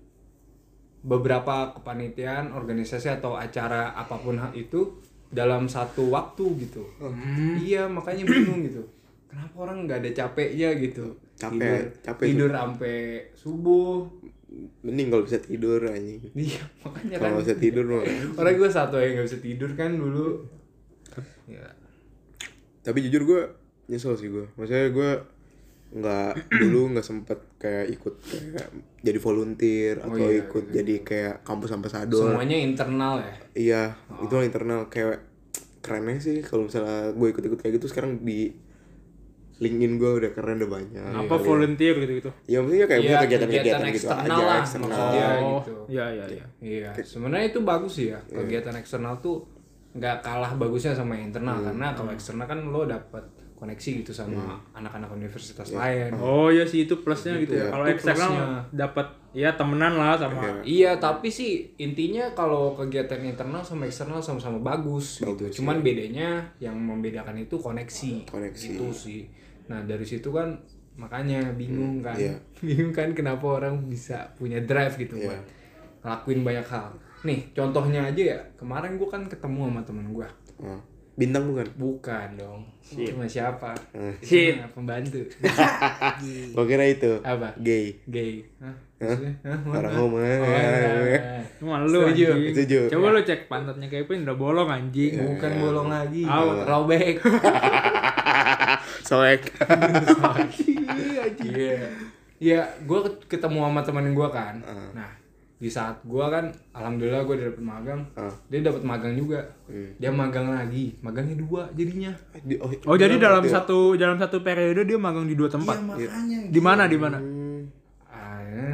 Speaker 1: beberapa kepanitiaan, organisasi atau acara apapun hal itu dalam satu waktu gitu. Iya, makanya bingung gitu. Kenapa orang nggak ada capeknya gitu?
Speaker 2: Capek,
Speaker 1: tidur,
Speaker 2: capek
Speaker 1: tidur sampai subuh.
Speaker 2: mending kalau bisa tidur anjing
Speaker 1: Iya, makanya kan.
Speaker 2: kalau bisa tidur mah
Speaker 1: Orang gue satu yang nggak bisa tidur kan dulu. Ya.
Speaker 2: tapi jujur gue nyesel sih gue maksudnya gue nggak dulu nggak sempet kayak ikut kayak jadi volunteer
Speaker 1: Oh
Speaker 2: atau ikut jadi kayak kampus
Speaker 1: iya,
Speaker 2: ambasador
Speaker 1: Semuanya internal ya.
Speaker 2: iya itu hal internal kayak kerennya sih kalau misalnya gue ikut-ikut kayak gitu sekarang di LinkedIn gue udah keren udah banyak
Speaker 3: apa volunteer gitu gitu
Speaker 2: ya maksudnya kayak
Speaker 1: Iya,
Speaker 2: punya kegiatan-kegiatan gitu
Speaker 1: eksternal
Speaker 2: aja
Speaker 1: lah
Speaker 2: eksternal
Speaker 1: maksudnya
Speaker 3: oh
Speaker 1: gitu.
Speaker 3: iya iya iya
Speaker 1: Iya, sebenarnya itu bagus sih ya. Kegiatan eksternal tuh nggak kalah bagusnya sama yang internal karena kalau eksternal kan lo dapat koneksi gitu sama anak-anak universitas lain.
Speaker 3: oh iya sih itu plusnya gitu, ya kalau eksternal dapat ya temenan lah sama
Speaker 1: Iya, tapi sih intinya kalau kegiatan internal sama eksternal sama-sama bagus, gitu. Cuman bedanya yang membedakan itu koneksi.
Speaker 2: Koneksi.
Speaker 1: Itu sih. Nah, dari situ kan makanya bingung kan. Bingung kan kenapa orang bisa punya drive gitu buat ngelakuin banyak hal. Nih, contohnya aja ya. Kemarin gua kan ketemu sama temen gua.
Speaker 2: Oh. bintang bukan
Speaker 1: Bukan dong. Cuma siapa?
Speaker 3: Shit.
Speaker 1: Cuma pembantu.
Speaker 2: gue kira itu
Speaker 1: Apa?
Speaker 2: gay
Speaker 1: Gay. Hah? Maksudnya? Hah?
Speaker 2: orang Iya, homo
Speaker 1: Oh, enggak.
Speaker 3: Cuma lu
Speaker 1: Setuju. Iya.
Speaker 3: anjing.
Speaker 2: Setuju.
Speaker 3: Coba lu cek pantatnya Kevin udah bolong anjing.
Speaker 1: Bukan bolong lagi, robek.
Speaker 2: soek
Speaker 1: Iya. Iya, gue ketemu sama temen gue kan. Nah, di saat gue kan, alhamdulillah gue dapet magang. Dia dapet magang juga. Dia magang lagi, magangnya dua jadinya.
Speaker 2: Di- oh,
Speaker 3: Oh, jadi dalam satu dalam satu periode dia magang di dua tempat.
Speaker 1: makanya.
Speaker 3: Di mana di mana?
Speaker 2: "Hmm."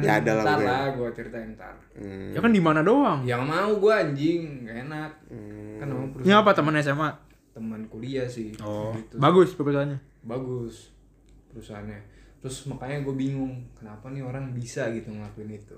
Speaker 2: Ya, ada lah
Speaker 1: ntar
Speaker 2: gue.
Speaker 1: Ah, lah gue ceritain ntar.
Speaker 2: Hmm.
Speaker 3: Ya kan di mana doang.
Speaker 1: Yang mau gue anjing, gak enak. Kan sama
Speaker 3: Ini
Speaker 1: perusahaan
Speaker 3: apa teman SMA?
Speaker 1: teman kuliah sih.
Speaker 3: Oh,
Speaker 1: Gitu.
Speaker 3: bagus perusahaannya.
Speaker 1: Bagus perusahaannya. Terus makanya gue bingung, kenapa nih orang bisa gitu ngelakuin itu.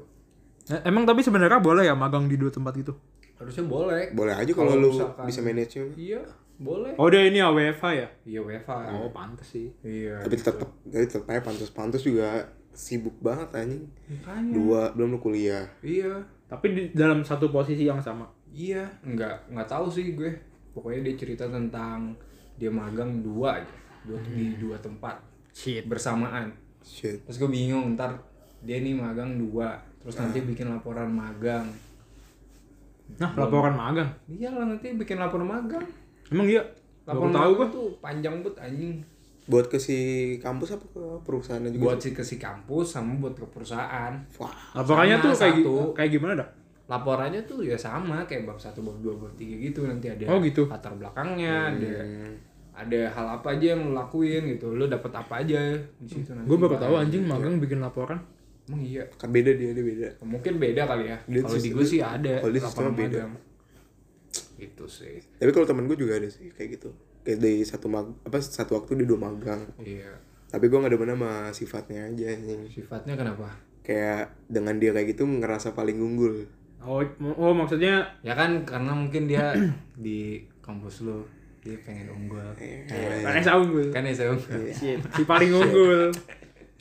Speaker 3: Eh, Emang tapi sebenarnya boleh ya magang di dua tempat gitu?
Speaker 1: Harusnya boleh.
Speaker 2: boleh aja kalau lu
Speaker 1: misalkan-
Speaker 2: bisa manage nya
Speaker 1: Iya, boleh.
Speaker 3: Oh, dia ini ya WFH ya?
Speaker 1: Iya UEFA.
Speaker 3: Oh, pantes sih.
Speaker 1: Iya.
Speaker 2: tapi tetap tapi tetap aja pantas-pantas juga sibuk banget anjing
Speaker 1: Makanya.
Speaker 2: dua belum lu kuliah
Speaker 1: Iya.
Speaker 3: Tapi di dalam satu posisi yang sama.
Speaker 1: Iya. Enggak, enggak tahu sih gue. Pokoknya dia cerita tentang dia magang dua aja. Dua di dua tempat
Speaker 3: Shit.
Speaker 1: bersamaan.
Speaker 2: shit
Speaker 1: Terus gue bingung ntar dia nih magang dua, terus nanti
Speaker 2: Ah.
Speaker 1: bikin laporan magang.
Speaker 3: Nah, laporan magang.
Speaker 1: Iyalah nanti bikin laporan magang.
Speaker 3: Emang iya? Baru
Speaker 1: Laporan
Speaker 3: tahu
Speaker 1: magang
Speaker 3: gua.
Speaker 1: tuh panjang banget anjing.
Speaker 2: buat ke si kampus apa ke perusahaannya juga
Speaker 1: Buat si ke si kampus sama buat ke perusahaan.
Speaker 2: wah
Speaker 3: Laporannya
Speaker 1: Sama
Speaker 3: tuh kayak gi-
Speaker 1: satu.
Speaker 3: kayak gimana dah?
Speaker 1: laporannya tuh ya sama kayak bab 1, bab 2, bab 3 gitu nanti ada
Speaker 3: Oh, gitu. Hmm.
Speaker 1: latar belakangnya ada ada hal apa aja yang lo lakuin gitu lo dapet apa aja di situ nanti
Speaker 3: Gue baru tahu anjing magang bikin laporan.
Speaker 1: emang iya
Speaker 2: kan beda dia dia beda
Speaker 1: mungkin beda kali ya
Speaker 2: Dia
Speaker 1: kalau di
Speaker 2: sistem-
Speaker 1: gue sih ada
Speaker 2: kalau di sistemnya
Speaker 1: laporan
Speaker 2: beda.
Speaker 1: magang. gitu sih
Speaker 2: tapi kalau temen gue juga ada sih kayak gitu kayak dari satu mag apa satu waktu dia dua magang
Speaker 1: iya
Speaker 2: tapi gue nggak demen sama sifatnya aja anjing
Speaker 1: sifatnya kenapa
Speaker 2: kayak dengan dia kayak gitu ngerasa paling unggul
Speaker 3: Oh, m- oh maksudnya
Speaker 1: ya kan karena mungkin dia di kampus lo dia pengen unggul
Speaker 3: kan SA unggul.
Speaker 1: kan ya saya
Speaker 3: Shit. Si paling unggul.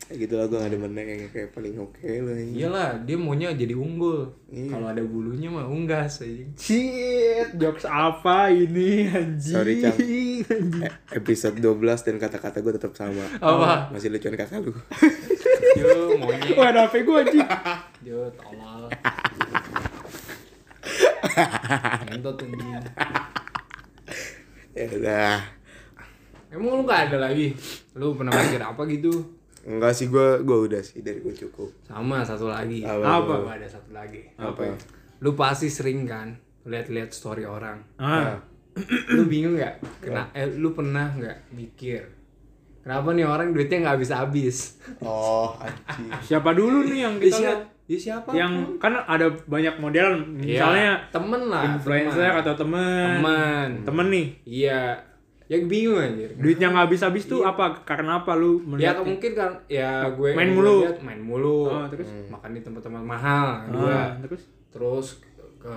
Speaker 2: kayak gitu lah gue nggak demennya kayak kayak paling oke lah anjing.
Speaker 1: iyalah dia maunya jadi unggul kalau ada bulunya mah unggas aja
Speaker 3: Shit, jokes apa ini anjing?
Speaker 2: Sorry, Cang. Eh, episode 12 dan kata-kata gue tetap sama
Speaker 1: apa
Speaker 2: masih lucuan kakak lu
Speaker 1: yo monyet
Speaker 3: Wah, ada HP gue anjing.
Speaker 1: Yo, tolol. Ngentot anjing.
Speaker 2: ya udah
Speaker 1: Emang lu gak ada lagi? Lu pernah mikir apa gitu?
Speaker 2: enggak sih gue gue udah sih dari gue cukup
Speaker 1: Sama satu lagi.
Speaker 3: Apa?
Speaker 1: Gua ada satu lagi.
Speaker 2: apa ya?
Speaker 1: Lu pasti sering kan lihat-lihat story orang.
Speaker 3: Ah,
Speaker 1: Lu bingung nggak? Kena eh, lu pernah nggak mikir? Kenapa nih orang duitnya nggak habis-habis?
Speaker 2: oh anjing
Speaker 3: siapa dulu nih yang
Speaker 1: Ya,
Speaker 3: kita lihat?
Speaker 1: siapa? Ya, siapa?
Speaker 3: Yang kan ada banyak model
Speaker 1: Ya,
Speaker 3: misalnya
Speaker 1: temen lah,
Speaker 3: influencer atau Iya. temen.
Speaker 1: temen.
Speaker 3: Temen nih.
Speaker 1: Iya. ya bingung anjir
Speaker 3: Duitnya nggak habis-habis tuh apa? Karena apa lu
Speaker 1: ya
Speaker 3: melihat?
Speaker 1: atau mungkin kan ya gue gue
Speaker 3: Main mulu.
Speaker 1: lihat main mulu Hmm,
Speaker 3: Oh, terus?
Speaker 1: makan di tempat-tempat mahal dua
Speaker 3: Ah, terus
Speaker 1: terus ke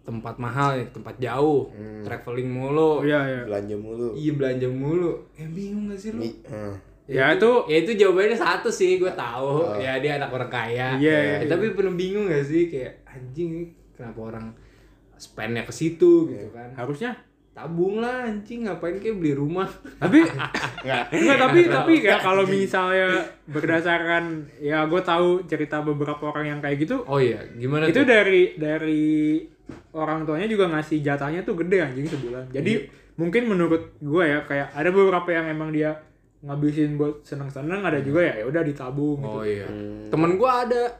Speaker 1: tempat mahal ya, tempat jauh traveling mulu
Speaker 3: Iya, iya.
Speaker 2: belanja mulu
Speaker 1: iya belanja mulu ya bingung gak sih lu
Speaker 2: Ini, eh.
Speaker 3: Ya itu
Speaker 1: ya itu jawabannya satu sih gue tahu ya dia anak orang kaya
Speaker 3: Iya,
Speaker 1: Ya,
Speaker 3: iya.
Speaker 1: tapi pernah bingung gak sih kayak anjing ini kenapa orang spendnya ke situ gitu kan
Speaker 3: harusnya.
Speaker 1: tabung lah anjing ngapain kayak beli rumah
Speaker 3: Tapi enggak, tapi tapi kayak kalau misalnya berdasarkan ya gue tahu cerita beberapa orang yang kayak gitu
Speaker 1: oh iya gimana
Speaker 3: itu
Speaker 1: tuh?
Speaker 3: dari dari orang tuanya juga ngasih jatahnya tuh gede anjing sebulan jadi
Speaker 1: Iya.
Speaker 3: mungkin menurut gue ya kayak ada beberapa yang emang dia ngabisin buat seneng-seneng ada juga ya ya udah ditabung gitu
Speaker 1: oh iya temen gue ada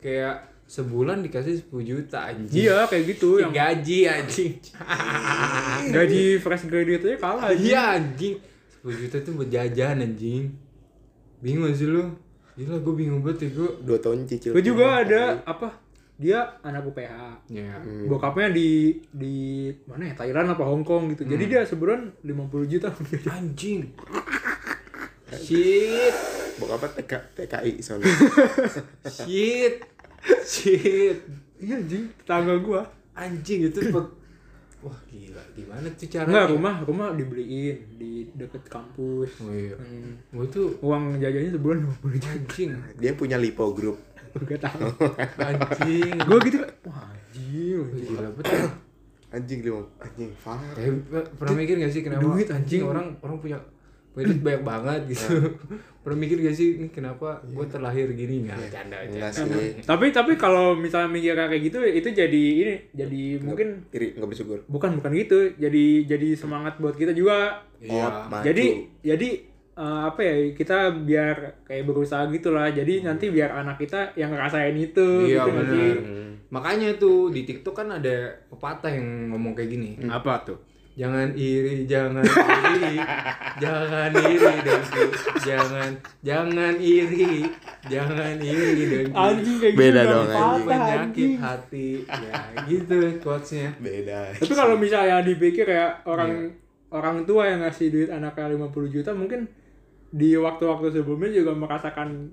Speaker 1: kayak sebulan dikasih 10 juta anjing
Speaker 3: iya kayak gitu yang
Speaker 1: gaji anjing
Speaker 3: gaji fresh graduate nya kalah anjing.
Speaker 1: iya anjing 10 juta itu buat jajan anjing bingung gak sih lu gila gue bingung banget ya gue
Speaker 2: dua tahun cicil
Speaker 3: gue
Speaker 1: Iya.
Speaker 3: juga ada apa dia anak UPH
Speaker 1: ya
Speaker 3: bokapnya di di mana ya Thailand apa Hong Kong gitu
Speaker 1: Hmm.
Speaker 3: jadi dia sebulan 50 juta
Speaker 1: anjing shit
Speaker 2: bokap apa TK, TKI soalnya
Speaker 1: shit shit
Speaker 3: iya anjing tetangga gua
Speaker 1: anjing itu pe- wah gila gimana tuh caranya
Speaker 3: enggak rumah rumah dibeliin di deket kampus
Speaker 1: oh iya
Speaker 3: Hmm.
Speaker 1: gue tuh
Speaker 3: uang jajannya sebulan 50 juta
Speaker 1: anjing
Speaker 2: dia punya lipo group
Speaker 3: gak tau
Speaker 1: anjing
Speaker 3: gue gitu kan, wah anjing anjing.
Speaker 1: gila betul
Speaker 2: anjing limo anjing parah
Speaker 1: Eh, pernah mikir gak sih kenapa
Speaker 3: Duit, anjing. Nah.
Speaker 1: orang orang punya punya duit banyak banget gitu pernah mikir gak sih ini kenapa
Speaker 3: Iya.
Speaker 1: gue terlahir gini nggak canda aja
Speaker 2: enggak sih
Speaker 3: tapi tapi kalau misalnya mikir kayak gitu itu jadi ini jadi mungkin
Speaker 2: iri nggak bersyukur
Speaker 3: bukan bukan gitu jadi jadi semangat buat kita juga
Speaker 1: iya
Speaker 2: Oh, maju.
Speaker 3: jadi jadi eh, apa ya kita biar kayak berusaha gitulah jadi
Speaker 2: Iya.
Speaker 3: nanti biar anak kita yang ngerasain itu
Speaker 1: iya
Speaker 3: gitu nanti.
Speaker 1: benar makanya tuh di TikTok kan ada pepatah yang ngomong kayak gini
Speaker 3: apa tuh
Speaker 1: jangan iri jangan iri jangan iri dengki jangan jangan iri jangan iri dengki
Speaker 3: anjing kayak
Speaker 2: Beda
Speaker 3: gitu
Speaker 2: dong,
Speaker 3: nggak
Speaker 2: anjing.
Speaker 3: patah,
Speaker 1: penyakit hati ya gitu quotesnya
Speaker 2: beda
Speaker 3: Tapi kalau misalnya dipikir ya
Speaker 1: Iya.
Speaker 3: orang orang tua yang ngasih duit anaknya 50 juta mungkin di waktu-waktu sebelumnya juga merasakan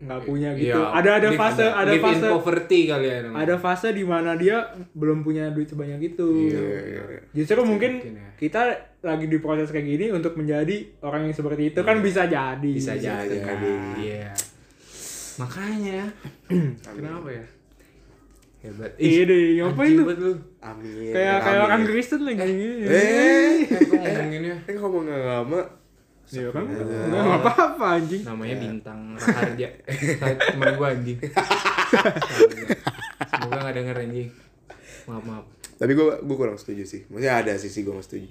Speaker 3: nggak punya gitu.
Speaker 1: Iya,
Speaker 3: ada ada
Speaker 1: live-
Speaker 3: fase ada,
Speaker 1: live in
Speaker 3: fase
Speaker 1: poverty kali ya namanya.
Speaker 3: ada fase di mana dia belum punya duit sebanyak itu.
Speaker 1: Iya,
Speaker 3: Justru mungkin
Speaker 1: mungkin ya.
Speaker 3: kita lagi di proses kayak gini untuk menjadi orang yang seperti itu kan bisa jadi.
Speaker 1: Iya. bisa
Speaker 3: iya,
Speaker 1: jadi
Speaker 2: jadi.
Speaker 1: kan. iya makanya kenapa ya hebat Ih,
Speaker 3: Ini Iya, ngapain
Speaker 1: anjing
Speaker 3: lu?
Speaker 1: banget Iya, lu
Speaker 2: amin
Speaker 3: Kayak kayak
Speaker 2: Amin.
Speaker 3: orang Kristen lagi.
Speaker 2: eh
Speaker 1: eh kok ngomonginnya
Speaker 2: eh ngomong nggak lama
Speaker 3: Ya kan?
Speaker 1: Iya.
Speaker 3: Nggak apa-apa anjing.
Speaker 1: namanya bintang Raharja Eh, Iya. teman gua anjing semoga nggak denger anjing maaf maaf
Speaker 2: tapi gue gue kurang setuju sih maksudnya ada sisi gue nggak setuju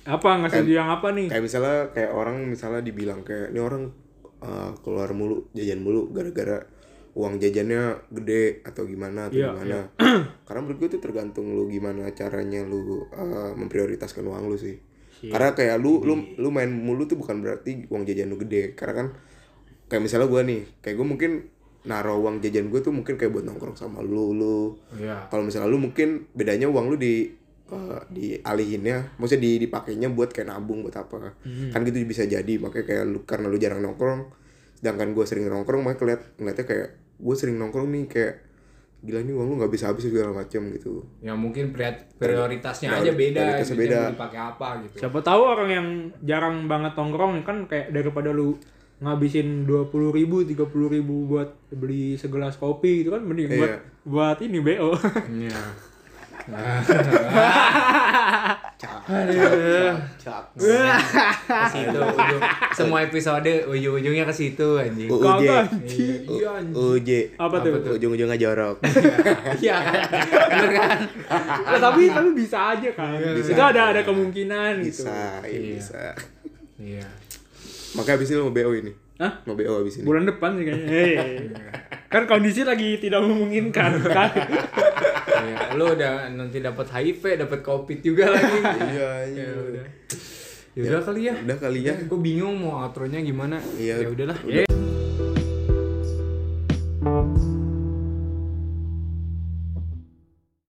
Speaker 3: Apa ngasih dia yang apa nih?
Speaker 2: kayak misalnya kayak orang misalnya dibilang kayak ini orang uh, keluar mulu jajan mulu gara-gara uang jajannya gede atau gimana atau
Speaker 3: Iya,
Speaker 2: gimana karena menurut gue itu tergantung lu gimana caranya lu uh, memprioritaskan uang lu sih
Speaker 3: Iya.
Speaker 2: karena kayak lu lu lu main mulu tuh bukan berarti uang jajan lu gede karena kan kayak misalnya gue nih kayak gue mungkin naro uang jajan gue tuh mungkin kayak buat nongkrong sama lu lu
Speaker 1: iya
Speaker 2: kalau misalnya lu mungkin bedanya uang lu di eh, dialihinnya maksudnya di dipakainya buat kayak nabung buat apa
Speaker 1: Hmm.
Speaker 2: kan gitu bisa jadi makanya kayak lu karena lu jarang nongkrong sedangkan gue sering nongkrong makanya keliat ngeliatnya kayak gue sering nongkrong nih kayak gila nih uang lu nggak bisa habis segala macam gitu
Speaker 1: ya mungkin priat- prioritasnya aja beda
Speaker 2: prioritasnya
Speaker 1: gitu,
Speaker 2: beda.
Speaker 1: yang mau dipakai apa gitu
Speaker 3: Siapa tahu orang yang jarang banget nongkrong kan kayak daripada lu ngabisin dua puluh ribu, tiga puluh ribu buat beli segelas kopi gitu kan mending buat
Speaker 2: Iya.
Speaker 3: buat ini bo.
Speaker 1: iya ke situ ujung. semua episode ujung-ujungnya ke situ anjing
Speaker 2: UJ
Speaker 3: Kagak.
Speaker 1: iya anjing
Speaker 2: UJ
Speaker 3: apa tuh?
Speaker 2: ujung-ujungnya jorok
Speaker 1: iya kan bener kan
Speaker 3: Nah, tapi tapi bisa aja kan.
Speaker 2: Iya. Bisa.
Speaker 3: Itu ada ada kemungkinan gitu.
Speaker 2: bisa ya
Speaker 1: Iya.
Speaker 2: bisa
Speaker 1: iya
Speaker 2: makanya abis ini lu mau BO ini
Speaker 3: Hah?
Speaker 2: mau BO abis ini
Speaker 3: Bulan depan sih kayaknya. Hei. kan kondisi lagi tidak memungkinkan kan.
Speaker 1: iya lu udah nanti dapat HIV dapat covid juga lagi
Speaker 2: iya iya
Speaker 1: ya udah ya udah kali ya
Speaker 2: udah kali ya
Speaker 1: gue bingung mau outro-nya gimana
Speaker 2: Iya.
Speaker 1: ya udahlah